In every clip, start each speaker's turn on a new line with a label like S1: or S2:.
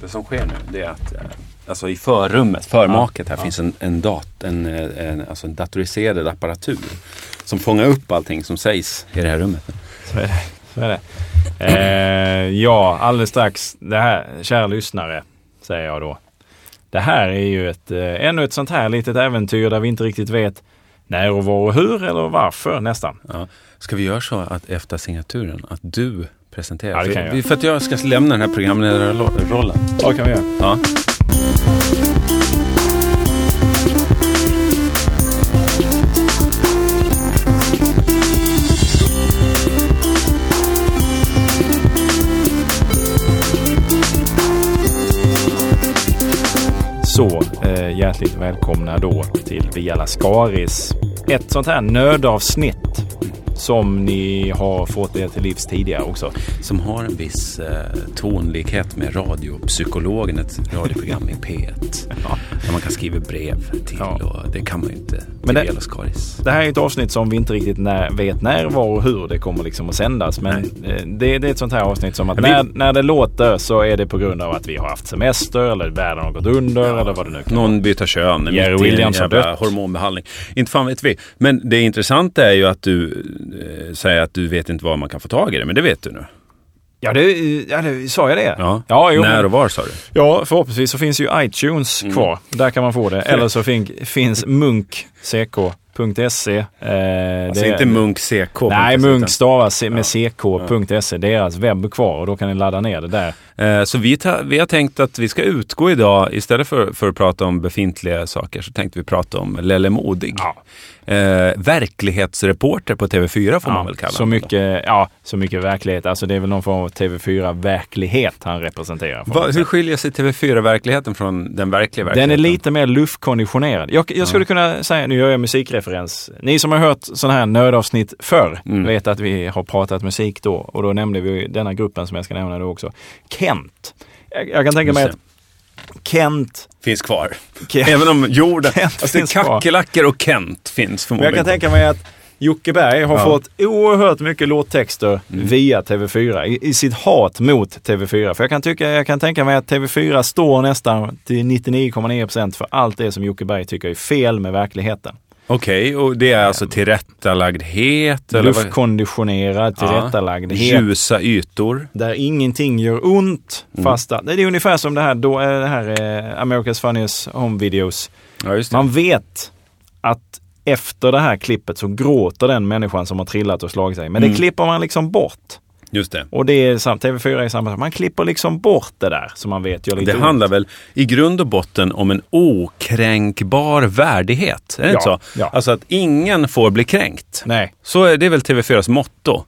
S1: det som sker nu det är att eh, alltså i förrummet, förmaket här finns en, en, dat, en, eh, en, alltså en datoriserad apparatur som fångar upp allting som sägs i det här rummet.
S2: Så är det. Så är det. Eh, ja, alldeles strax. Det här, kära lyssnare, säger jag då. Det här är ju ett, eh, ännu ett sånt här litet äventyr där vi inte riktigt vet när och var och hur eller varför nästan.
S1: Ja. Ska vi göra så att efter signaturen, att du presenterar?
S2: Ja, det kan
S1: För-
S2: jag
S1: vi-
S2: göra.
S1: För att jag ska lämna den här programledarrollen.
S2: Vad kan vi göra?
S1: Ja.
S2: Så eh, hjärtligt välkomna då till Via Lascaris. Ett sånt här nödavsnitt som ni har fått er till livs tidigare också.
S1: Som har en viss eh, tonlikhet med radiopsykologen, ett radioprogram i P1. Där man kan skriva brev till
S2: Ja.
S1: och det kan man ju inte
S2: Men
S1: till
S2: det-
S1: Viola Skaris.
S2: Det här är ett avsnitt som vi inte riktigt när, vet när, var och hur det kommer liksom att sändas. Men eh, det, det är ett sånt här avsnitt som att
S1: Ja, vi-
S2: när, när det låter så är det på grund av att vi har haft semester eller världen har gått under eller vad det nu kan vara.
S1: Någon byter kön. mitt i
S2: Jerry
S1: en
S2: Williams har
S1: jävla
S2: dött.
S1: Hormonbehandling. Inte fan vet vi. Men det intressanta är ju att du eh, säger att du vet inte var man kan få tag i det. Men det vet du nu.
S2: Ja, det, ja det, sa jag det?
S1: Ja. Alltså,
S2: ja, jo,
S1: När
S2: men- Mm.
S1: och var sa du?
S2: Ja, förhoppningsvis så finns ju iTunes kvar. Där kan man få det. Eller så fin- finns munkck.se. Eh,
S1: Alltså
S2: det-
S1: inte Munk CK.
S2: Nej,
S1: utan-
S2: munk stavas med ck.se. Deras webb är kvar och då kan ni ladda ner det där.
S1: Eh, Så vi, ta, vi har tänkt att vi ska utgå idag, istället för, för att prata om befintliga saker, så tänkte vi prata om Lelle Modig.
S2: Ja.
S1: Eh, verklighetsreporter på TV4 får man väl kalla
S2: så
S1: honom då.
S2: mycket, ja, så mycket verklighet. Alltså det är väl någon form av TV4-verklighet han representerar. får
S1: Va,
S2: man
S1: hur
S2: säga.
S1: skiljer sig TV4-verkligheten från den verkliga
S2: Den är
S1: verkligheten?
S2: lite mer luftkonditionerad. Jag, jag skulle kunna säga, nu gör jag musikreferens. Ni som har hört sådana här nödavsnitt förr
S1: Mm.
S2: vet att vi har pratat musik då och då nämnde vi denna gruppen som jag ska nämna då också. Kent. Jag, jag kan tänka mig
S1: Just
S2: att Kent,
S1: Finns kvar.
S2: Kent
S1: Även om jorden...
S2: Kent
S1: alltså det är
S2: finns kvar.
S1: kackerlackor och Kent finns
S2: Men jag
S1: förmodligen.
S2: kan tänka mig att Jocke Berg har
S1: Ja. Mm.
S2: fått oerhört mycket låttexter via TV4 i, i sitt hat mot TV4. För jag kan, tycka, jag kan tänka mig att TV4 står nästan till 99,9 för allt det som Jocke Berg tycker är fel med verkligheten.
S1: Okej, och det är alltså tillrättalagdhet? Eller vad-
S2: Luftkonditionerad,
S1: Ja.
S2: tillrättalagd, het,
S1: Ljusa ytor.
S2: där ingenting gör ont.
S1: Mm.
S2: Fast att- det är ungefär som det här, då, eh, det här eh, America's Funniest Home Videos.
S1: Ja, just det.
S2: Man vet att efter det här klippet så gråter den människan som har trillat och slagit sig. Men det
S1: Mm.
S2: klipper man liksom bort.
S1: Just det.
S2: Och det är sam- TV4 är samma sak. Man klipper liksom bort det där som man vet gör lite
S1: Det
S2: ont.
S1: handlar väl i grund och botten om en okränkbar värdighet? Är det
S2: Ja,
S1: inte så?
S2: ja.
S1: Alltså att ingen får bli kränkt.
S2: Nej,
S1: Så är det är väl TV4s motto.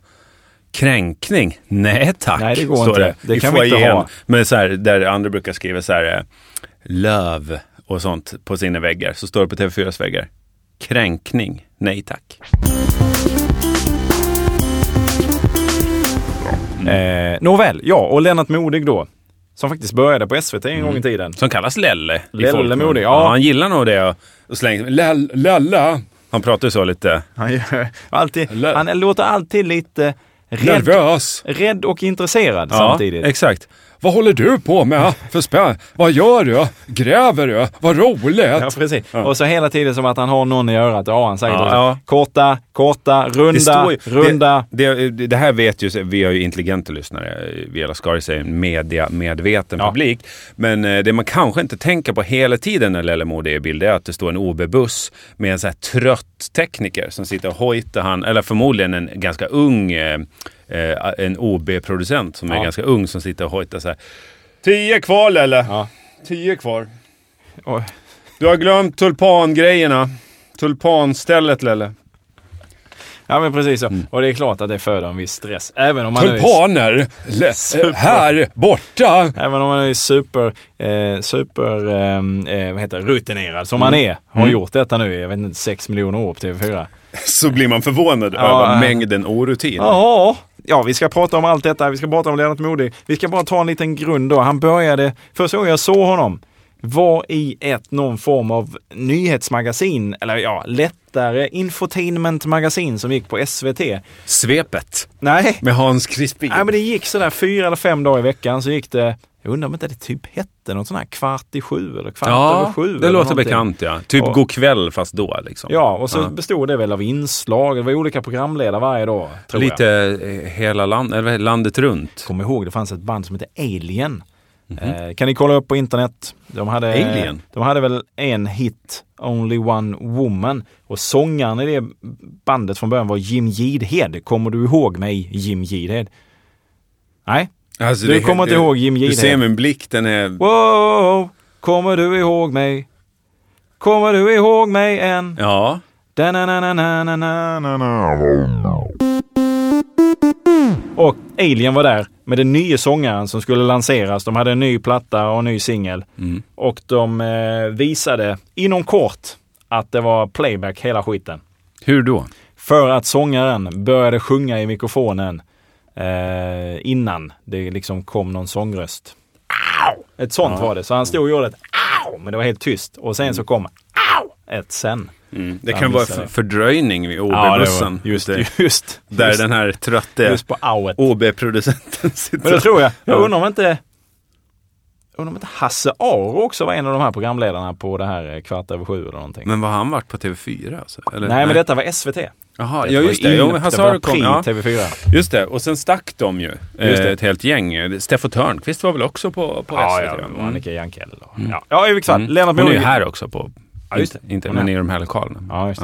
S1: Kränkning? Nej tack,
S2: Nej, det går
S1: står
S2: inte. Det
S1: i
S2: kan vi inte
S1: foajén.
S2: ha.
S1: Men så här, där andra brukar skriva så här, eh, löv och sånt på sina väggar, så står det på TV4s väggar. Kränkning? Nej tack. Mm.
S2: Eh, nåväl, ja, och Lennart Modig då. Som faktiskt började på SVT en
S1: Mm.
S2: gång i tiden.
S1: Som kallas Lelle. i
S2: Lelle
S1: folkmun.
S2: Modig, ja.
S1: ja. Han gillar nog det och- och slänger Lell- Lella. Han pratar ju så lite
S2: Han, gör- alltid,
S1: Eller-
S2: han låter alltid lite rädd,
S1: nervös.
S2: rädd och intresserad samtidigt.
S1: exakt. Vad håller du på med för spänn? Vad gör du? Gräver du? Vad roligt!
S2: Ja, precis. Och så hela tiden som att han har någon i örat. Ja, han säger
S1: Ja,
S2: då så,
S1: ja.
S2: korta, korta,
S1: Det,
S2: runda,
S1: står ju,
S2: runda.
S1: Det, det, det här vet ju, vi har ju intelligenta lyssnare. Viola Skaris är en mediamedveten
S2: Ja.
S1: publik. Men eh, det man kanske inte tänker på hela tiden när Lelle Modig är i bild är att det står en OB-buss med en så här trött tekniker som sitter och hojtar han, eller förmodligen en ganska ung, eh, eh, en OB-producent som är
S2: Ja.
S1: ganska ung som sitter och hojtar så här. Tio kvar Lelle!
S2: Ja.
S1: Tio kvar.
S2: Och,
S1: Du har glömt tulpangrejerna. Tulpanstället Lelle.
S2: ja, men precis så. Och det är klart att det föder en viss stress. Även om man nu är
S1: Tulpaner! eh, här borta!
S2: Även om man är super, eh, super ehm, eh, vad heter det, rutinerad som man är. Har gjort detta nu i, jag vet inte, 6 miljoner år på TV4.
S1: Så blir man förvånad
S2: Ja,
S1: över
S2: ja.
S1: mängden orutin.
S2: Ja, ja, vi ska prata om allt detta. Vi ska prata om Lennart Modig. Vi ska bara ta en liten grund då. Han började, första gången jag såg honom var i ett någon form av nyhetsmagasin, eller ja, lättare infotainmentmagasin som gick på SVT.
S1: Svepet
S2: Nej,
S1: med Hans Crispin.
S2: Nej, men det gick sådär fyra eller fem dagar i veckan så gick det Jag undrar om inte det typ hette något sånt här kvart i sju eller kvart över
S1: Ja,
S2: sju.
S1: det
S2: eller
S1: låter
S2: någonting.
S1: bekant ja. Typ
S2: Ja.
S1: god kväll fast då liksom.
S2: Ja, och så bestod det väl av inslag. Det var olika programledare varje dag. Tror jag.
S1: Lite eh, hela land, eller landet runt.
S2: Kom ihåg, det fanns ett band som hette Alien. Eh, kan ni kolla upp på internet? De hade,
S1: Mhm. Alien?
S2: De hade väl en hit, Only One Woman. Och sångaren i det bandet från början var Jim Gidhed. Kommer du ihåg mig, Jim Gidhed? Nej?
S1: Alltså,
S2: Du kommer inte ihåg Jim
S1: Du
S2: Gidhed?
S1: ser min blick, den är...
S2: Wow, kommer du ihåg mig? Kommer du ihåg mig än?
S1: Ja.
S2: Da-na-na-na-na-na-na. Och Alien var där med den nya sångaren som skulle lanseras. De hade en ny platta och en ny singel.
S1: Mm.
S2: Och de eh, visade inom kort att det var playback hela skiten.
S1: Hur då?
S2: För att sångaren började sjunga i mikrofonen eh, innan det liksom kom någon sångröst. Ett sånt var det. Så han stod och gjorde ett au, men det var helt tyst. Och sen så kom au, ett sen.
S1: Mm. Det
S2: Ja,
S1: kan vara
S2: missade.
S1: för, fördröjning vid
S2: Ja, det
S1: OB-bussen.
S2: var, just,
S1: Där-
S2: just, just,
S1: Där den här trötte
S2: just på auet.
S1: OB-producenten sitter.
S2: Men det tror jag. Jag
S1: Ja.
S2: undrar om inte undrar om inte Hasse Aro också var en av de här programledarna på det här eh, Kvart över sju eller någonting.
S1: Men vad har han varit på TV4 alltså? Eller?
S2: Nej, men detta var SVT.
S1: Jaha,
S2: Detta
S1: ja,
S2: var
S1: just det.
S2: in-
S1: Jo, Hasse Aro kom.
S2: Det
S1: Ja.
S2: var pre-TV4.
S1: Just det, och sen stack de ju.
S2: Just
S1: eh,
S2: det.
S1: Ett helt gäng. Steffo Törnqvist var väl också på, på
S2: Ja,
S1: SVT?
S2: ja, Mm.
S1: va?
S2: och Annika Jankell. och-
S1: Mm.
S2: Ja, ja i vilket fall. Lennart
S1: Hon är ju
S2: Modig.
S1: här också på...
S2: Ja, just det.
S1: Inte,
S2: Hon är
S1: men i de här lokalerna.
S2: Ja, just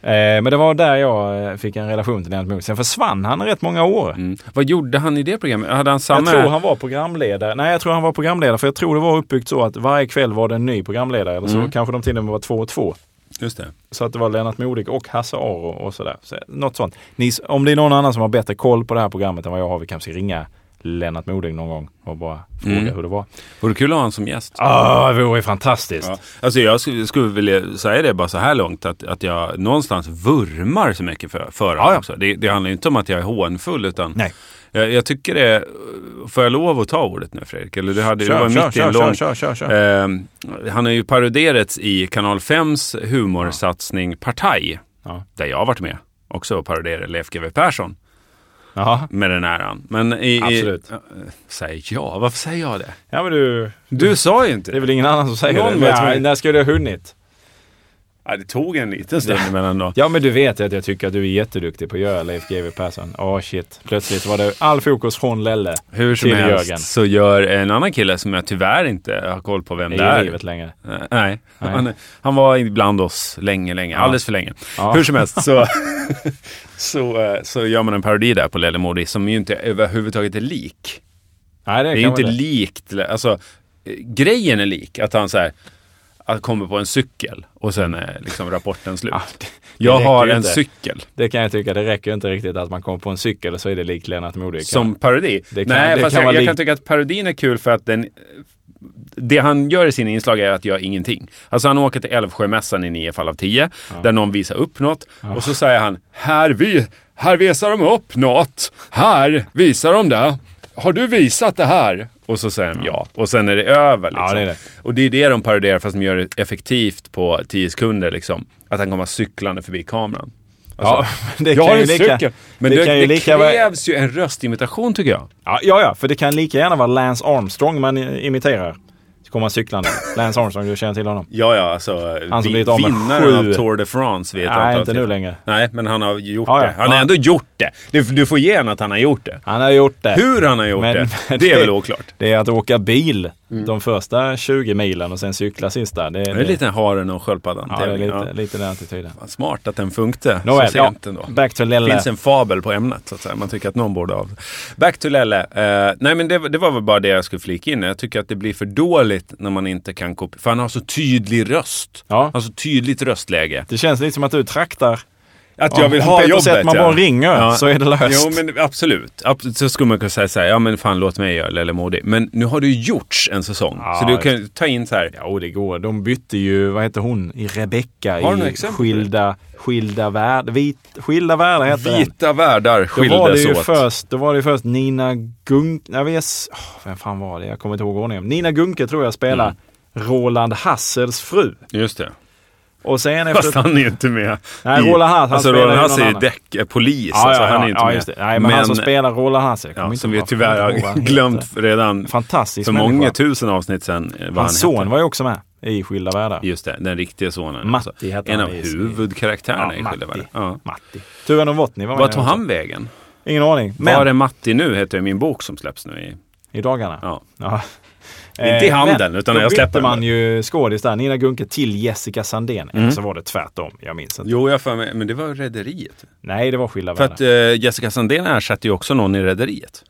S2: det. Eh, men det var där jag eh, fick en relation till Lennart Modig. Sen försvann han i rätt många år.
S1: Mm. Vad gjorde han i det programmet? Hade han
S2: Jag
S1: samma...
S2: tror han var programledare. Nej, jag tror han var programledare. För jag tror det var uppbyggt så att varje kväll var det en ny programledare. Eller så
S1: Mm.
S2: kanske de till och med var två och två.
S1: Just det.
S2: Så att det var Lennart Modig och Hasse Aro och sådär. Så, något sånt. Ni, om det är någon annan som har bättre koll på det här programmet än vad jag har, vi kanske ska ringa Lennart Modig någon gång och bara fråga
S1: Mm.
S2: hur det var.
S1: Vore kul att ha honom som gäst.
S2: Ah, det vore fantastiskt.
S1: Ja. Alltså jag skulle, skulle vilja säga det bara så här långt att, att jag någonstans vurmar så mycket för, för honom.
S2: Ja, ja.
S1: Också. Det, det handlar ju inte om att jag är hånfull utan
S2: Nej.
S1: Jag, jag tycker det... Får jag lov att ta ordet nu Fredrik? Eller du hade, du var
S2: Kör,
S1: mitt
S2: kör,
S1: i en
S2: kör,
S1: lång...
S2: kör, kör, kör, kör.
S1: Ehm, han har ju paroderats i Kanal 5s humorsatsning Partaj.
S2: Ja.
S1: Där jag har varit med också och paroderade Leif GW Persson
S2: Jaha.
S1: med den äran. Men i,
S2: Absolut.
S1: I, äh, säger jag? Varför säger jag det?
S2: Ja men du,
S1: Du sa ju
S2: det är
S1: inte
S2: väl ingen annan som säger
S1: Någon
S2: det?
S1: var tvungen.
S2: Nej, när skulle jag ha hunnit?
S1: ja, Det tog en liten stund emellan då.
S2: Ja men du vet ju att jag tycker att du är jätteduktig på att göra Leif GW Persson. Åh shit, plötsligt var det all fokus från Lelle
S1: Hur som
S2: till
S1: helst
S2: Jörgen.
S1: så gör en annan kille som jag tyvärr inte har koll på vem
S2: Det
S1: det
S2: är
S1: är.
S2: ju livet längre.
S1: Eh, Nej, Han, han var ibland oss länge, länge. Alldeles för länge.
S2: Ja.
S1: Hur som helst så, så, eh, så gör man en parodi där på Lelle Modi som ju inte överhuvudtaget är lik.
S2: Nej, det,
S1: Det är
S2: kan
S1: inte
S2: vara det.
S1: likt. Alltså, eh, grejen är lik. Att han så här, att kommer på en cykel och sen är liksom rapporten slut.
S2: Ja, Ah, det- det
S1: jag
S2: räcker
S1: har
S2: ju
S1: en
S2: inte.
S1: cykel
S2: Det kan jag tycka, det räcker ju inte riktigt att man kommer på en cykel och så är det likt Lennart Modig.
S1: som parodi.
S2: Det kan-
S1: Nej,
S2: det
S1: fast
S2: kan
S1: jag,
S2: vara
S1: jag
S2: lik-
S1: kan tycka att parodin är kul för att den... Det han gör i sina inslag är att göra ingenting. Alltså han åker till Älvsjömässan i nio fall av tio, där någon visar upp något. Och så säger han, här, vi, här visar de upp något. Här visar de det. Har du visat det här? Och så säger de ja. Och sen är det över. Liksom.
S2: Ja, det är det.
S1: Och det är det de parodierar, fast de gör det effektivt på tio sekunder. Liksom. Att han kommer cyklande förbi kameran. Alltså,
S2: Ja, men Alltså, det
S1: jag har
S2: kan ju
S1: en
S2: lika,
S1: cykel! Men det,
S2: det
S1: det,
S2: kan ju lika vara-
S1: krävs ju en röstimitation tycker jag.
S2: ja, ja, ja, för det kan lika gärna vara Lance Armstrong man eh, imiterar. Så kommer han cyklande. Lance Armstrong, du känner till honom?
S1: Ja, ja, alltså
S2: Han som
S1: vi-
S2: blivit av med
S1: vinnaren
S2: sju-
S1: av Tour de France vet
S2: Nej, inte nu längre.
S1: Nej, men han har gjort
S2: Ja, ja.
S1: det. Han har
S2: Ja.
S1: ändå gjort det. Du, du får ge en att han har gjort det.
S2: Han har gjort det.
S1: Hur han har gjort
S2: Men-
S1: det,
S2: men
S1: det är
S2: det-
S1: väl oklart. Mm.
S2: Det är att åka bil de första 20 milen och sen cykla sista. Det,
S1: Det är lite haren och sköldpaddan.
S2: ja, det är lite, lite den attityden.
S1: Fan, Smart att den funkte
S2: Nåväl,
S1: så
S2: ja,
S1: sent ändå.
S2: back to
S1: Det
S2: Lelle.
S1: finns en fabel på ämnet så att säga. Man tycker att någon borde av. Back to Lelle. Eh, nej men det, var- det var väl bara det jag skulle flika in. Jag tycker att det blir för dåligt när man inte kan kopiera. För han har så tydlig röst.
S2: Ja.
S1: Han har så tydligt röstläge.
S2: Det känns lite som att du traktar.
S1: Att
S2: Ja,
S1: jag vill
S2: om
S1: ha
S2: Peter
S1: jobbet.
S2: Settman bara ringer, så är det löst.
S1: Jo, men absolut. Abs- Så skulle man kunna säga så här, ja men fan låt mig göra Lelle Modi. Men nu har det ju gjorts en säsong.
S2: Ja,
S1: så du
S2: just
S1: kan ju ta in så här.
S2: Ja, och det går. De bytte ju, vad heter hon, i Rebecca
S1: Har du några
S2: i
S1: exempel på
S2: Skilda, skilda världar. Vit, skilda världar heter den.
S1: Vita världar
S2: Då var, det
S1: skildes
S2: ju
S1: åt.
S2: först, då var det ju först Nina Gunk... Jag vet, åh, vem fan var det? Jag
S1: Mm.
S2: kommer inte ihåg ordningen. Nina Gunke tror jag spelar Roland Hassels fru.
S1: Just det.
S2: Och sen efter...
S1: Fast han är ju inte med.
S2: Nej,
S1: i-
S2: Roland Haas, han
S1: Alltså
S2: spelar ju
S1: Roland Haas
S2: någon
S1: är ju
S2: annan.
S1: däck, är polis.
S2: Ja,
S1: alltså,
S2: ja,
S1: han är
S2: ja,
S1: inte
S2: ja,
S1: med.
S2: just det. Nej, men, han som spelar Roland Hasse. jag kommer
S1: ja,
S2: inte
S1: som vi
S2: ihåg-
S1: tyvärr
S2: jag kommer inte ihåg
S1: har
S2: vad han
S1: glömt
S2: heter.
S1: redan
S2: Fantastisk
S1: för
S2: människa.
S1: många tusen avsnitt sedan. eh, Vad
S2: Hans
S1: han
S2: son
S1: hette.
S2: var ju också med i Skilda Världar.
S1: Just det, den riktiga sonen.
S2: Matti
S1: alltså.
S2: hette
S1: en
S2: han
S1: av
S2: i-
S1: huvudkaraktärerna i Skilda
S2: Matti.
S1: världar. Ja.
S2: Matti. Tuva Novotny var med.
S1: Vad tog
S2: också.
S1: han vägen?
S2: Ingen aning. Men
S1: Var är Matti nu? Heter min bok som släpps nu. I,
S2: i dagarna.
S1: ja.
S2: Ja. Eh,
S1: Inte i handen,
S2: men
S1: utan
S2: då
S1: jag släpper
S2: bytte
S1: den
S2: man
S1: där.
S2: ju skådis där, Nina Gunke till Jessica Sandén.
S1: Mm.
S2: Eller så var det tvärtom, jag minns inte.
S1: Jo, jag för mig, men det var Rederiet.
S2: Nej, det var skilda
S1: För
S2: världar.
S1: att eh, Jessica Sandén ersatte ju också någon i Rederiet.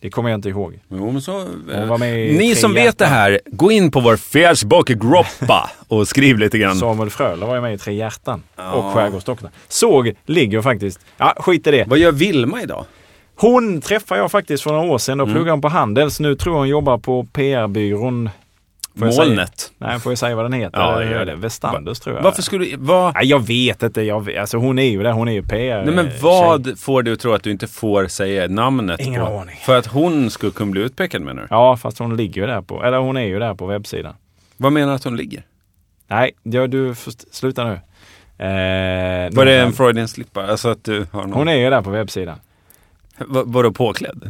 S2: Det kommer jag inte ihåg.
S1: Jo, men så, eh,
S2: var med i
S1: ni
S2: Tre
S1: som vet det
S2: hjärtan.
S1: här, gå in på vår Facebookgruppa och skriv lite grann.
S2: Samuel Fröler var ju med i Tre hjärtan och Skärgårdsdoktorn. Såg ligger faktiskt... Ja, skit i det.
S1: Vad gör Vilma idag?
S2: Hon träffade jag faktiskt för några år sedan. Då
S1: Mm.
S2: pluggade hon på Handels. Nu tror jag hon jobbar på PR-byrån. Får jag säga-
S1: Molnet.
S2: Nej, får jag säga vad den heter?
S1: Ja,
S2: Eller
S1: gör
S2: är
S1: det.
S2: det. Westanders tror jag.
S1: Varför skulle... Vad,
S2: Nej, jag vet inte. Jag vet, alltså, hon är ju där. Hon är ju PR.
S1: nej, men vad får du tro att du inte får säga namnet
S2: Ingen
S1: på?
S2: aning.
S1: För att hon skulle kunna bli utpekad menar du?
S2: Ja, fast hon ligger ju där på... Eller hon är ju där på webbsidan.
S1: Vad menar du att hon ligger?
S2: Nej, ja, du... Först, sluta nu. Eh,
S1: Var det en Freudian slippa? Alltså att du har någon...
S2: Hon är ju där på webbsidan.
S1: Va- Vadå påklädd?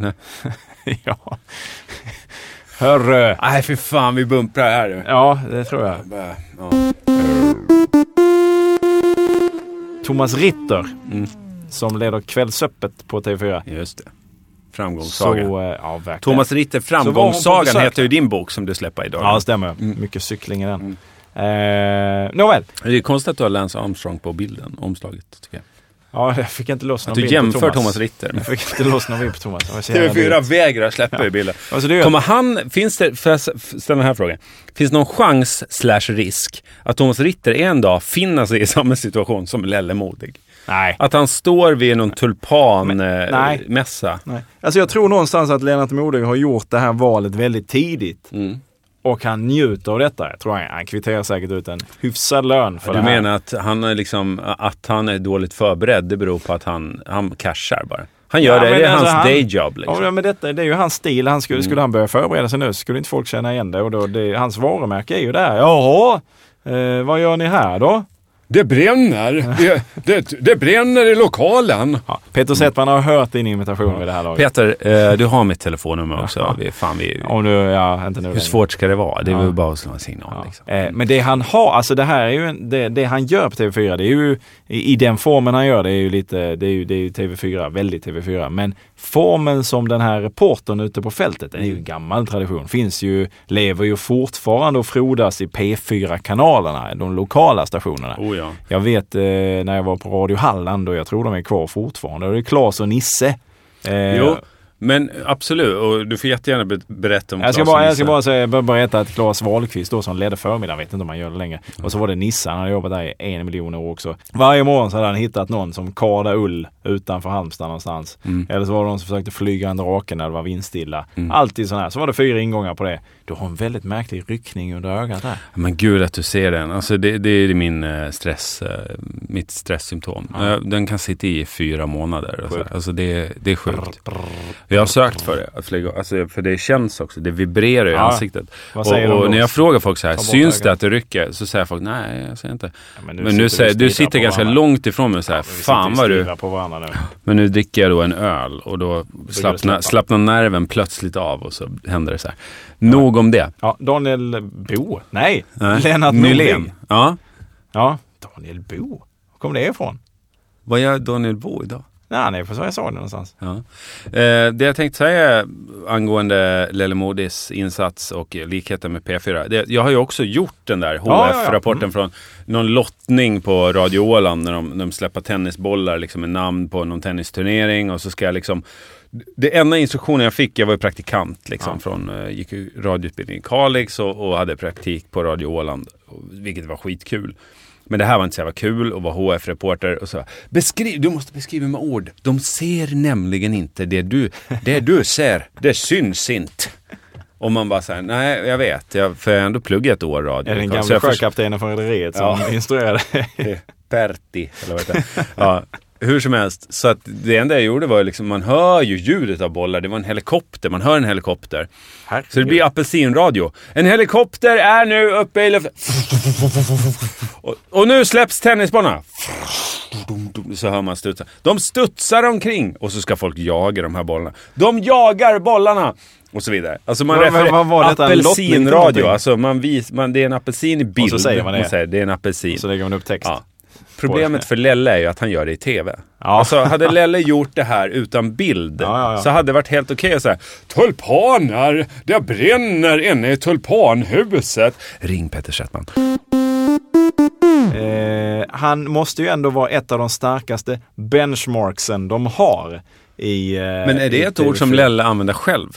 S1: Nej.
S2: ja. Hörru!
S1: Nej, för fan vi bumprar här nu.
S2: Ja, det tror jag.
S1: Bara, Ja.
S2: Thomas Ritter,
S1: Mm.
S2: som leder Kvällsöppet på TV4.
S1: Just det.
S2: Så,
S1: Framgångssaga.
S2: eh, ja, verkligen.
S1: Thomas Ritter,
S2: Så var hon på
S1: Framgångssagan
S2: besök.
S1: heter ju din bok som du släpper idag.
S2: Ja, det stämmer.
S1: Mm.
S2: Mycket cykling i den. Eh, Nåväl.
S1: det är konstigt att du har Lance Armstrong på bilden, omslaget. Tycker jag.
S2: Ja, jag fick inte loss någon
S1: Att du
S2: bild på
S1: jämför Thomas, Ritter med
S2: Jag fick inte loss någon bild på Thomas. Det var så jävla
S1: TV4
S2: dyrt.
S1: vägrar släppa i bilden.
S2: Alltså, det är ju-
S1: Kommer han, finns det, för jag ställa den här frågan. Finns det någon chans slash risk att Thomas Ritter en dag finner sig i samma situation som Lelle Modig?
S2: Nej.
S1: Att han står vid någon
S2: nej.
S1: tulpanmässa?
S2: Nej. Alltså jag tror någonstans att Lennart Modig har gjort det här valet väldigt tidigt.
S1: Mm.
S2: Och han njuter av detta. Jag tror han, han kvitterar säkert ut en hyfsad lön för
S1: Du
S2: det här.
S1: menar att han, är liksom, att han är dåligt förberedd, det beror på att han, han cashar bara? Han gör
S2: Ja,
S1: det,
S2: men
S1: det är
S2: alltså
S1: hans
S2: han-
S1: dayjob liksom. Mm.
S2: Ja, men detta, det är ju hans stil. Han skulle, skulle han börja förbereda sig nu så skulle inte folk känna igen det. Och då, det hans varumärke är ju där. Jaha, eh, vad gör ni här då?
S1: Det bränner! Det, det, det bränner i lokalen!
S2: Ja, Peter Settman har hört din imitation vid det här laget.
S1: Peter, eh, du har mitt telefonnummer också. Vi, fan, vi,
S2: Om du, ja, inte nu
S1: Hur
S2: längre.
S1: svårt ska det vara? Det är väl bara att slå en signal. Liksom.
S2: Eh, Men det han har, alltså det här är ju, en- det, det han gör på TV4, det är ju i, i den formen han gör det är ju lite, det är ju, det är ju TV4, väldigt TV4. Men formen som den här reportern ute på fältet, det är ju en gammal tradition, finns ju, lever ju fortfarande och frodas i P4-kanalerna, de lokala stationerna.
S1: Oh ja.
S2: Jag vet eh, när jag var på Radio Halland och jag tror de är kvar fortfarande, och det är Claes och Nisse. Eh,
S1: Jo, men absolut. Och du får jättegärna be- berätta om
S2: Jag ska,
S1: Claes och
S2: bara, jag
S1: Nisse.
S2: ska bara säga, bara berätta att Claes Wahlqvist då som ledde förmiddagen, vet inte om han gör det längre.
S1: Mm.
S2: Och så var det Nisse, han hade jobbat där i en miljon år också. Varje morgon så hade han hittat någon som kardade ull utanför Halmstad någonstans.
S1: Mm.
S2: Eller så var det någon som försökte flyga en drake när det var vindstilla. Alltid sån här. Så var det fyra ingångar på det. Du har en väldigt märklig ryckning under ögat där.
S1: Men gud att du ser den. Alltså det, det är min eh, stress, eh, mitt stresssymptom. Eh, Den kan sitta i fyra månader. Och så. här. Alltså det, det är sjukt. Jag har sökt för det. Flyga, alltså för det känns också. Det vibrerar i
S2: Ja.
S1: ansiktet.
S2: Vad säger
S1: och
S2: de
S1: och
S2: då?
S1: när jag frågar folk så här,
S2: bort
S1: syns
S2: ögat."
S1: det att det rycker? Så säger folk, nej jag ser inte.
S2: men
S1: men
S2: nu
S1: nu,
S2: sitter vi
S1: säger, du
S2: stilla
S1: sitter
S2: på
S1: ganska
S2: varandra.
S1: långt ifrån mig och säger,
S2: Vi sitter
S1: fan
S2: ju
S1: vad du
S2: styva på varandra nu.
S1: Men nu dricker jag då en öl och då slappnar
S2: släppa.
S1: slappna nerven plötsligt av och så händer det så här. Nog om det.
S2: Ja, Daniel Bo? Nej,
S1: Nej.
S2: Lennart
S1: Nylén.
S2: Nylén.
S1: Ja.
S2: Ja, Daniel Bo? Var kom det ifrån?
S1: Vad gör Daniel Bo idag?
S2: Nej, han är på Sveriges Radio någonstans.
S1: Ja. Eh, det jag tänkte säga angående Lelle Modis insats och likheten med P4. Det, jag har ju också gjort den där
S2: ja, ja.
S1: HF-rapporten från någon lottning på Radio Åland när de, när de släpper tennisbollar liksom med namn på någon tennisturnering och så ska jag liksom det enda instruktionen jag fick, jag var ju praktikant liksom, från, eh, gick ju radioutbildning i Kalix och, och hade praktik på Radio Åland, och- vilket var skitkul. Men det här var inte så jävla kul och var HF-reporter och så beskriv, du måste beskriva med ord. De ser nämligen inte det du, det du ser, det syns inte. Och man bara såhär, nej jag vet, jag, för jag har ändå pluggat ett år radio.
S2: Är det den
S1: Så
S2: gamla
S1: jag förs-
S2: sjökaptenen från Rederiet som
S1: Ja.
S2: instruerade?
S1: Pertti, eller vad heter det? ja, Hur som helst, så att det enda jag gjorde var liksom, man hör ju ljudet av bollar. Det var en helikopter, man hör en helikopter.
S2: Herregud.
S1: Så det blir apelsinradio. En helikopter är nu uppe i luften. Och, och nu släpps tennisbollarna. Så hör man studsa. De studsar omkring och så ska folk jaga de här bollarna. De jagar bollarna! Och så vidare. Alltså man
S2: Vad- vad-
S1: refererar-
S2: vad var detta? En lottning till
S1: apelsinradio.
S2: någonting?
S1: Alltså man vis, man, det är en apelsin i bild.
S2: Och så säger man det.
S1: säger, det är en apelsin.
S2: Så lägger man upp text.
S1: Ja. Problemet för Lelle är ju att han gör det i tv.
S2: Ja.
S1: Alltså, hade Lelle gjort det här utan bild
S2: Ja, ja, ja.
S1: så hade det varit helt okej att säga Tulpaner, det brinner inne i tulpanhuset. Ring Peter Settman.
S2: Eh, han måste ju ändå vara ett av de starkaste benchmarksen de har. I, eh,
S1: Men är det
S2: i
S1: ett ord som
S2: TV4?
S1: Lelle använder själv?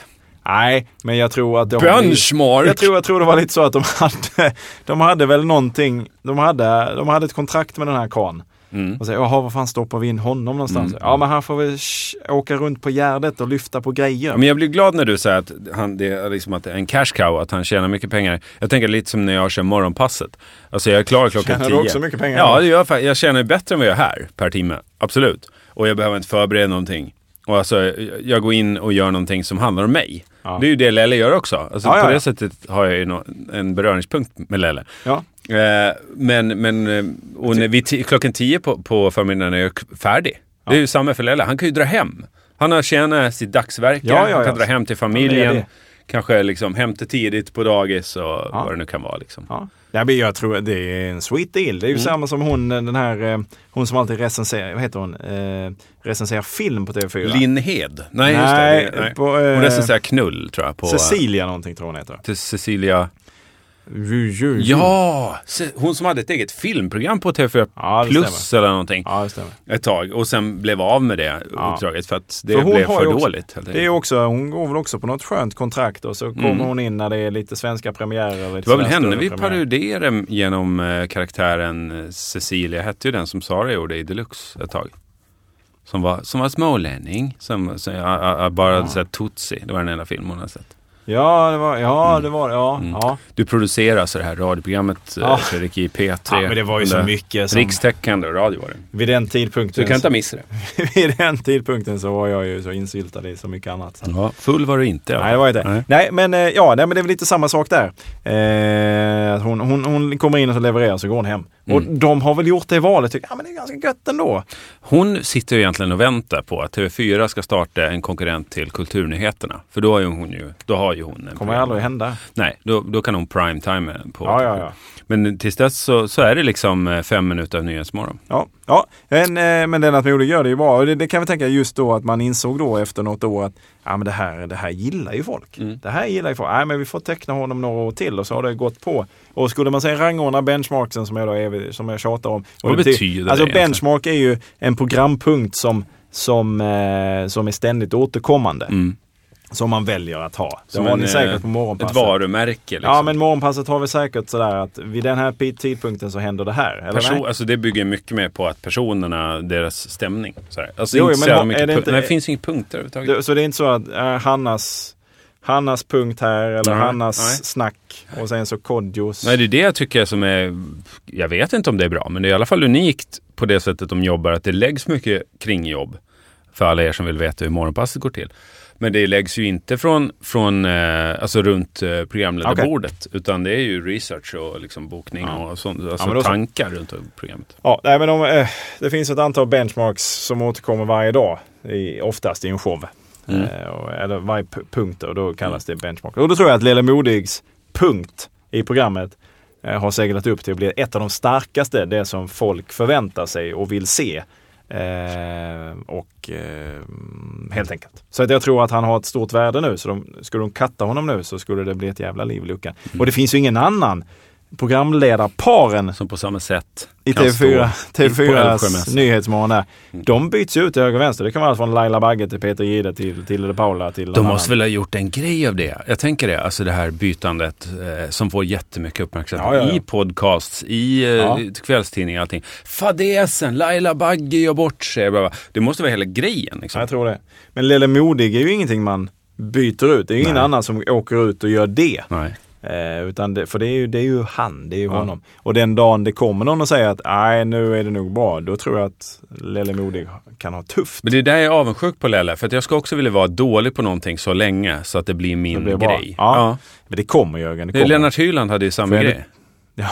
S2: Nej, men jag tror att de...
S1: Benchmark?
S2: Jag tror, jag tror det var lite så att de hade, de hade väl någonting, de hade, de hade ett kontrakt med den här karln.
S1: Mm.
S2: Och säger, jaha, var fan stoppar vi in honom någonstans? Ja, men han får väl sh- åka runt på Gärdet och lyfta på grejer.
S1: Ja, Men jag blir glad när du säger att han, det är liksom att det är en cash cow, att han tjänar mycket pengar. Jag tänker lite som när jag kör morgonpasset. Alltså jag är klar klockan
S2: Tjänar du
S1: tio.
S2: också mycket pengar?
S1: Ja, det gör jag. fa- Jag tjänar bättre än vad jag gör här per timme. Absolut. Och jag behöver inte förbereda någonting. Och alltså, jag- jag går in och gör någonting som handlar om mig.
S2: Ja.
S1: Det är ju det Lelle gör också. Alltså,
S2: Ja, ja,
S1: på det
S2: ja.
S1: sättet har jag ju nå- en beröringspunkt med Lelle.
S2: Ja.
S1: Eh, men men eh, och när vi ti- klockan tio på, på förmiddagen är jag k- färdig. Det är ju samma för Lelle. Han kan ju dra hem. Han har tjänat sitt dagsverke.
S2: Ja, ja,
S1: Han kan
S2: ja.
S1: dra hem till
S2: Ja,
S1: familjen.
S2: det är det.
S1: Kanske liksom hem till tidigt på dagis och vad det nu kan vara. Liksom.
S2: Ja. Nej, men jag tror att det är en sweet deal. Det är ju
S1: Mm.
S2: samma som hon, den här, eh, hon som alltid recenserar, vad heter hon, eh, recenserar film på TV4.
S1: Linnhed? Nej,
S2: Nej,
S1: just det. det nej.
S2: på, eh,
S1: Hon recenserar knull tror jag. På, eh,
S2: Cecilia någonting tror hon heter.
S1: Till Cecilia.
S2: Ju, ju, ju.
S1: Ja! Ce- Hon som hade ett eget filmprogram på TV4
S2: Ja, det
S1: Plus eller någonting.
S2: Ja, det stämmer.
S1: Ett tag. Och sen blev av med det
S2: Ja.
S1: uppdraget för att det
S2: För hon
S1: blev
S2: har
S1: för
S2: ju också-
S1: dåligt. helt
S2: Det är ju
S1: enkelt.
S2: också, hon går väl också på något skönt kontrakt och så
S1: Mm.
S2: kommer hon in när det är lite svenska premiärer. och Lite
S1: Det var väl
S2: sådär
S1: henne
S2: större
S1: vi
S2: premiärer.
S1: paroderade genom eh, karaktären eh, Cecilia, hette ju den som Sara gjorde i Deluxe ett tag. Som var, som var smålänning, som, som jag, jag, jag bara hade sett Tootsie, det var den enda film hon hade sett.
S2: Ja, det var ja,
S1: Mm.
S2: det. Var, ja, ja.
S1: Du producerar alltså det här radioprogrammet eh,
S2: Ja.
S1: Fredrik i P3.
S2: Ja, men det var ju så
S1: Under-
S2: mycket som-
S1: Rikstäckande radio var det.
S2: Vid den
S1: Så
S2: tidpunkten
S1: du kan inte missa det.
S2: vid den tidpunkten så var jag ju så insyltad i så mycket annat. Så.
S1: Ja, full var du inte.
S2: Nej, det var ju det. Nej, men, eh, ja, nej, men det är väl lite samma sak där. Eh, att hon, hon, hon kommer in och så levererar så går hon hem. Och de har väl gjort det valet. tycker jag. Ja, men det är ganska gött ändå.
S1: Hon sitter ju egentligen och väntar på att TV4 ska starta en konkurrent till Kulturnyheterna. För då har ju hon ju, då har ju hon en
S2: kommer
S1: program.
S2: aldrig hända.
S1: Nej, då, då kan hon primetime på.
S2: Ja, ja, ja.
S1: Men tills dess så, så är det liksom eh, fem minuter av Nyhetsmorgon.
S2: Ja, ja. Men, eh, men Lennart Mode gör det ju bra. Och det, det kan vi tänka just då att man insåg då efter något år att ja, men det, här, det här gillar ju folk.
S1: Mm.
S2: Det här gillar ju folk. Nej, men vi får teckna honom några år till och så har det gått på. Och skulle man säga rangordna benchmarksen som jag, då är, som jag tjatar om. Och
S1: Vad
S2: bety-
S1: betyder det
S2: Alltså
S1: egentligen?
S2: benchmark är ju en programpunkt som, som, eh, som är ständigt återkommande. Som man väljer att ha. Det har ni
S1: Mm. en,
S2: säkert på
S1: eh,
S2: morgonpasset.
S1: Ett varumärke. Liksom.
S2: Ja, men morgonpasset har vi säkert sådär att vid den här pi- tidpunkten så händer det här. Eller nej?
S1: Person, alltså det bygger mycket mer på att personerna, deras stämning. Så här. Alltså
S2: Jo,
S1: inte
S2: jo,
S1: så
S2: men
S1: jävla
S2: har-
S1: mycket
S2: är det
S1: punk-
S2: inte-
S1: Nej, det finns inga punkter överhuvudtaget.
S2: Det- Så det är inte så att eh, Hannas, Hannas punkt här eller
S1: Nej,
S2: Hannas
S1: nej.
S2: snack och sen så Kodjos.
S1: Nej, det är det jag tycker som är... Jag vet inte om det är bra, men det är i alla fall unikt på det sättet de jobbar, att det läggs mycket kringjobb. För alla er som vill veta hur morgonpasset går till. Men det läggs ju inte från, från eh, alltså runt eh, programledarbordet, utan det är ju research och liksom bokning och sånt, alltså
S2: men då så.
S1: tankar runt om programmet.
S2: Ja, nej, men de, eh, det finns ett antal benchmarks som återkommer varje dag, i, oftast i en show.
S1: Mm.
S2: Eh, och- eller varje p- punkt och då kallas det benchmark. Och då tror jag att Lelle Modigs punkt i programmet eh, har seglat upp till att bli ett av de starkaste, det som folk förväntar sig och vill se. Eh, och eh, helt enkelt. Så att jag tror att han har ett stort värde nu. Så de, skulle de katta honom nu så skulle det bli ett jävla liv i luckan. Och det finns ju ingen annan programledarparen
S1: Som på samma sätt
S2: i
S1: kan stå
S2: TV4,
S1: på Mm. Älvsjömässan.
S2: TV4s nyhetsmorgon där. De byts ju ut till höger och vänster. Det kan vara allt från Laila Bagge till Peter Gide till Tilde de Paula till
S1: De
S2: någon
S1: måste
S2: annan.
S1: väl ha gjort en grej av det. Jag tänker det, alltså det här bytandet eh, som får jättemycket uppmärksamhet
S2: Ja, ja, ja.
S1: i podcasts, i eh,
S2: Ja.
S1: kvällstidningar och allting. Fadäsen, Laila Bagge gör bort sig. bla, bla. Det måste vara hela grejen.
S2: Ja,
S1: Liksom.
S2: Jag tror det. Men Lelle Modig är ju ingenting man byter ut. Det är ju ingen annan som åker ut och gör det.
S1: Nej.
S2: Eh, utan det, för det är, ju, det är ju han, det är ju honom. Och den dagen det kommer någon och säger att nej, nu är det nog bra, då tror jag att Lelle Modig kan ha tufft.
S1: Men det är där jag är avundsjuk på Lelle, för att jag ska också vilja vara dålig på någonting så länge så att det blir min
S2: Det blir bra.
S1: grej.
S2: Ja. Men det kommer Jörgen, det
S1: Det är
S2: kommer.
S1: Lennart Hyland hade ju samma
S2: För jag-
S1: grej.
S2: Ja,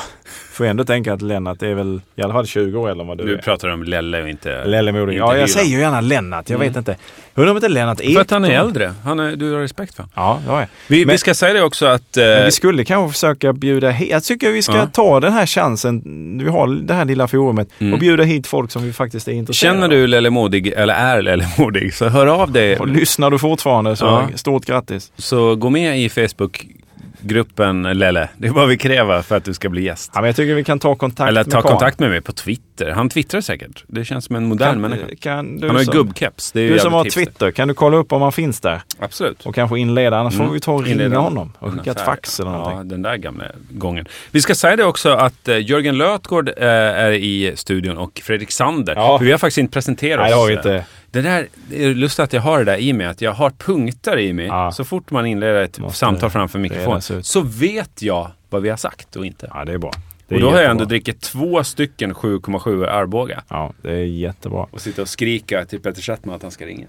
S2: får ändå tänka att Lennart är väl i alla fall 20 år äldre än vad du,
S1: Du
S2: är.
S1: pratar om Lelle och inte
S2: Lelle Modig.
S1: inte Mm.
S2: Ja, jag
S1: Hyland.
S2: säger ju gärna Lennart, jag vet inte. Undrar om inte Lennart är...
S1: För att han är äldre. Han är, du har respekt för honom.
S2: Ja, det har jag.
S1: Vi,
S2: Men-
S1: vi ska säga det också att... eh,
S2: Men vi skulle kanske försöka bjuda hit, jag tycker vi ska
S1: Ja.
S2: ta den här chansen, vi har det här lilla forumet, och bjuda hit folk som vi faktiskt är intresserade
S1: Mm. Känner
S2: av.
S1: du Lelle Modig, eller är Lelle Modig, så hör av dig.
S2: Och lyssnar du fortfarande så
S1: Ja.
S2: stort grattis.
S1: Så gå med i Facebookgruppen Lelle. Det är vad vi kräver för att du ska bli gäst.
S2: Ja, men jag tycker vi kan ta kontakt
S1: Eller
S2: med
S1: ta
S2: Karl.
S1: kontakt med mig på Twitter. Han twittrar säkert. Det känns som en modern människa.
S2: Kan, kan du
S1: Han har ju
S2: som-
S1: gubbkeps. Det är ju
S2: Du som
S1: jävligt
S2: har
S1: hipster.
S2: Twitter, kan du kolla upp om han finns där?
S1: Absolut.
S2: Och kanske inleda, annars får vi ta och ringa
S1: Inleda
S2: honom och
S1: en
S2: skicka ett
S1: affär.
S2: fax eller
S1: Mm. Ja,
S2: någonting.
S1: den där gamla gången. Vi ska säga det också att eh, Jörgen Lötgård eh, är i studion och Fredrik Sander.
S2: Ja.
S1: För vi har faktiskt inte presenterat
S2: Nej, det har vi
S1: oss. eh,
S2: inte.
S1: Det där, det är lustigt att jag har det där i mig, att jag har punkter i mig.
S2: Ja.
S1: Så fort man inleder ett
S2: Måste
S1: samtal framför
S2: redas
S1: mikrofon
S2: ut.
S1: så vet jag vad vi har sagt och inte.
S2: Ja, det är bra. Det är
S1: Och då har jag ändå
S2: jättebra.
S1: druckit två stycken 7,7 Arboga.
S2: Ja, det är jättebra.
S1: Och sitta och skrika till Peter Settman att han ska ringa.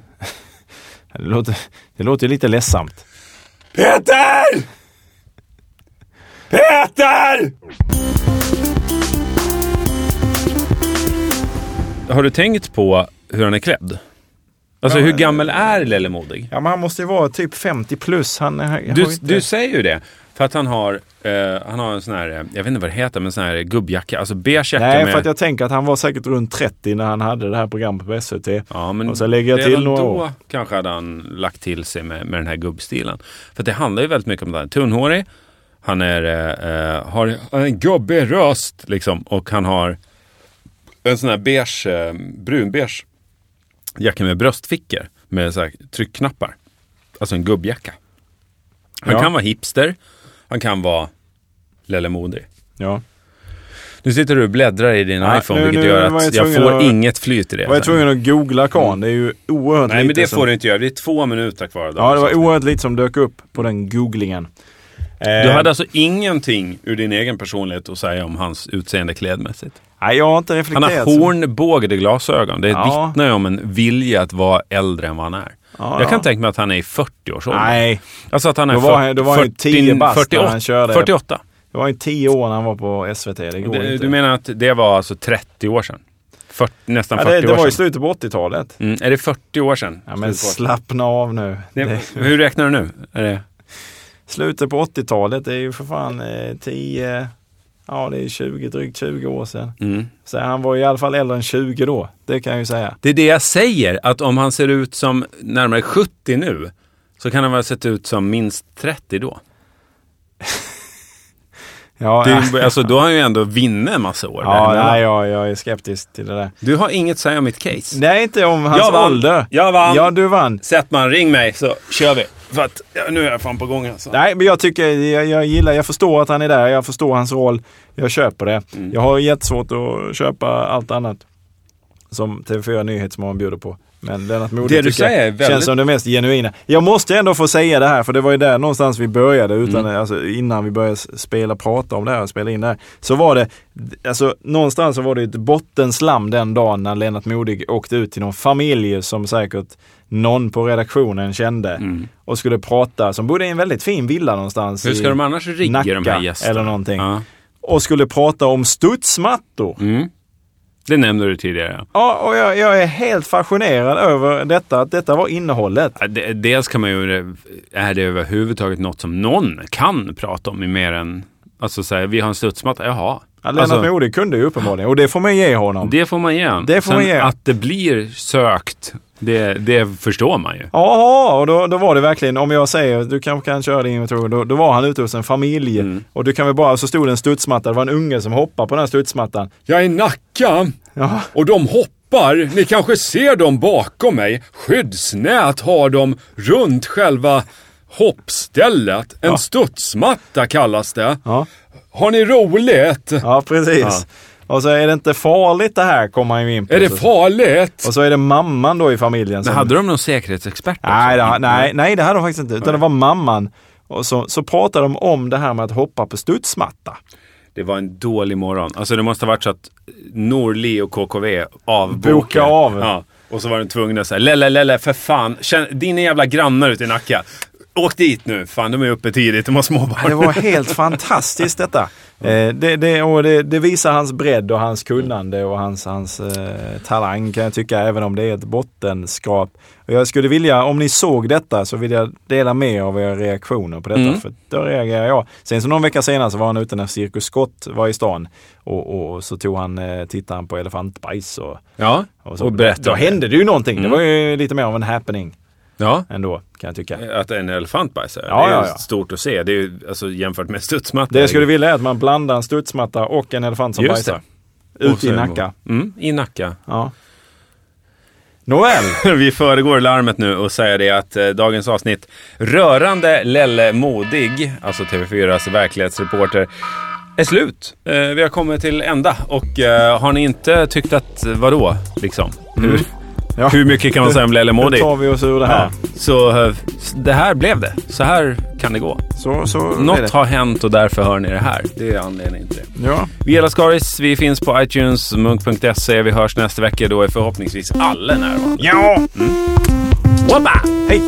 S2: Det låter, det låter lite ledsamt.
S1: Peter! Peter! Har du tänkt på hur han är klädd? Alltså
S2: eh,
S1: hur gammal är Lelle Modig?
S2: Ja, men han måste ju vara typ 50 plus. Han, är- jag
S1: Du,
S2: har inte-
S1: du säger ju det. För att han har, eh, han har en sån här, eh, jag vet inte vad det heter, men sån här gubbjacka. Alltså beige jacka
S2: Nej,
S1: med...
S2: för att jag tänker att han var säkert runt 30 när han hade det här programmet på SVT.
S1: Ja, men
S2: och så lägger jag till
S1: redan
S2: några
S1: då
S2: år.
S1: kanske hade han lagt till sig med, med den här gubbstilen. För att det handlar ju väldigt mycket om det här. Tunnhårig, han är, eh, eh, har en gubbig röst liksom och han har en sån här beige, eh, brunbeige jacka med bröstfickor med så här tryckknappar. Alltså en gubbjacka. Han
S2: Ja.
S1: kan vara hipster, han kan vara Lelle Modig.
S2: Ja.
S1: Nu sitter du och bläddrar i din
S2: Nej,
S1: iPhone
S2: nu-
S1: vilket
S2: nu
S1: gör
S2: var
S1: att
S2: jag
S1: jag
S2: tvungen
S1: får
S2: att-
S1: inget flyt i det.
S2: Jag var
S1: sen.
S2: tvungen att googla karln. Det är ju oerhört
S1: Nej, men
S2: lite
S1: det
S2: som,
S1: får du inte göra. Det är två minuter kvar av
S2: Ja, det var
S1: dagens
S2: oerhört lite som dök upp på den googlingen.
S1: avsnitt. Du
S2: Eh,
S1: hade alltså ingenting ur din egen personlighet att säga om hans utseende klädmässigt.
S2: Nej, jag har inte
S1: Han
S2: reflekterat.
S1: har hornbågade glasögon. Det
S2: Ja.
S1: vittnar ju om en vilja att vara äldre än vad han är.
S2: Ja,
S1: jag kan
S2: ja.
S1: tänka mig att han är i 40-årsåldern.
S2: Nej,
S1: Alltså att han är
S2: Då var han- då var han ju 10 bast när han körde.
S1: 48.
S2: det var ju 10 år när han var på SVT. Det går
S1: Du,
S2: inte.
S1: du menar att det var alltså 30 år sedan? 40, nästan
S2: ja,
S1: 40
S2: det, det var
S1: år
S2: i
S1: sedan.
S2: slutet på 80-talet.
S1: Mm, är det 40 år sedan?
S2: Ja, men
S1: Slutet på-
S2: slappna av nu.
S1: det,
S2: Det,
S1: Hur räknar du nu? Är det,
S2: slutet på 80-talet är ju för fan eh, 10, ja det är 20, drygt 20 år sedan.
S1: mm.
S2: Så han var i alla fall äldre än 20 då, det kan jag ju säga.
S1: Det är det jag säger, att om han ser ut som närmare 70 nu så kan han väl ha sett ut som minst 30 då.
S2: Ja,
S1: Det är, ju- alltså, då har han ju ändå vunnit en massa år.
S2: ja,
S1: däremellan.
S2: nej, jag, jag är skeptisk till det där.
S1: Du har inget att säga om mitt case.
S2: Nej, inte om hans
S1: Jag vann.
S2: ålder.
S1: Jag vann.
S2: Ja, du vann.
S1: Sätt man, ring mig så kör vi. För att ja, nu är jag fan på gång alltså.
S2: Nej, men jag tycker, jag, jag gillar, jag förstår att han är där, jag förstår hans roll, jag köper det.
S1: Mm.
S2: Jag har jättesvårt att köpa allt annat som TV4 Nyhetsmorgon bjuder på. Men Lennart Modig
S1: Det du
S2: tycker jag
S1: säger är väldigt-
S2: känns som det mest genuina. Jag måste ändå få säga det här, för det var ju där någonstans vi började, utan,
S1: Mm.
S2: alltså, innan vi började spela, prata om det här och spela in det här. Så var det, alltså någonstans så var det ett bottenslam den dagen när Lennart Modig åkte ut till någon familj som säkert någon på redaktionen kände och skulle prata, som bodde i en väldigt fin villa någonstans
S1: Mm. Hur ska
S2: i
S1: de annars rigga
S2: Nacka
S1: de här gästerna?
S2: eller någonting.
S1: Ja.
S2: Och skulle prata om studsmattor.
S1: Mm. Det nämnde du tidigare.
S2: Ja, och jag, jag är helt fascinerad över detta, att detta var innehållet.
S1: Ja, det- Dels kan man ju, eh, är det överhuvudtaget något som någon kan prata om i mer än, alltså så här, vi har en studsmatta, jaha.
S2: Ja, Lennart
S1: Alltså-
S2: Modig kunde ju uppenbarligen, och det får man ge honom.
S1: Det får man ge han.
S2: Det får
S1: Sen
S2: man ge.
S1: att det blir sökt, det, det förstår man ju.
S2: Jaha, och då, då var det verkligen, om jag säger du kanske kan köra din inventor, då, då var han ute hos en familj och du kan väl bara, så stod det en studsmatta, det var en unge som hoppade på den här studsmattan.
S1: Jag är i Nacka
S2: Ja,
S1: och de hoppar. Ni kanske ser dem bakom mig. Skyddsnät har de runt själva hoppstället. En studsmatta kallas det.
S2: ja,
S1: Har ni roligt?
S2: ja precis. Och så är det inte farligt det här, kommer han ju in på. Så-
S1: farligt?
S2: och så är det mamman då i familjen. Som,
S1: Men hade de någon säkerhetsexpert? också?
S2: nej, det, nej, nej, det hade de faktiskt inte, utan det var mamman Och så, så pratar de om det här med att hoppa på studsmatta.
S1: Det var en dålig morgon. Alltså det måste ha varit så att Norli och KKV avbokade.
S2: Boka av.
S1: Ja. Och så var de tvungna att säga Lelle, Lelle, för fan. Känn, dina jävla grannar ute i Nacka. Åk dit nu. Fan, de är uppe tidigt. De har småbarn.
S2: Ja, Det var helt fantastiskt detta. Eh, det, det, och det, det visar hans bredd och hans kunnande och hans, hans eh, talang kan jag tycka, även om det är ett bottenskrap. Och jag skulle vilja, om ni såg detta, så vill jag dela med er av era reaktioner på detta. För då reagerar jag. Sen så någon vecka senare så var han ute när Cirkus Scott var i stan och, och, och så tog han, eh, tittade han på elefantbajs och,
S1: Ja,
S2: och
S1: och,
S2: så. Mm.
S1: berätta.
S2: Då
S1: om det.
S2: hände det ju någonting. Det var ju lite mer av en happening
S1: Ja.
S2: ändå, kan jag tycka.
S1: Att en elefant bajsar.
S2: Ja,
S1: det är
S2: ja, ja.
S1: stort att se. Det är ju, alltså, jämfört med studsmatta.
S2: Det jag skulle vilja är att man blandar en studsmatta och en elefant som
S1: Just
S2: bajsar.
S1: det.
S2: Ute i Nacka.
S1: Mm, I Nacka.
S2: Ja. Nåväl,
S1: Vi föregår larmet nu och säger det att eh, dagens avsnitt rörande Lelle Modig, alltså TV4s verklighetsreporter, är slut. Eh, vi har kommit till ända och eh, har ni inte tyckt att, vadå, liksom? Hur,
S2: Ja.
S1: hur mycket kan man säga om Lelle
S2: då
S1: Modig?
S2: tar vi oss ur det här.
S1: Ja, så eh, det här blev det. Så här kan det gå.
S2: Så, så är
S1: Något
S2: det.
S1: har hänt och därför hör ni det här. Det är anledningen till det.
S2: Ja.
S1: Vi gillar Skaris, vi finns på iTunes, munk.se. Vi hörs nästa vecka. Då är
S2: Mm.
S1: förhoppningsvis alla närvarande.
S2: Ja!
S1: Wabba!
S2: Hej!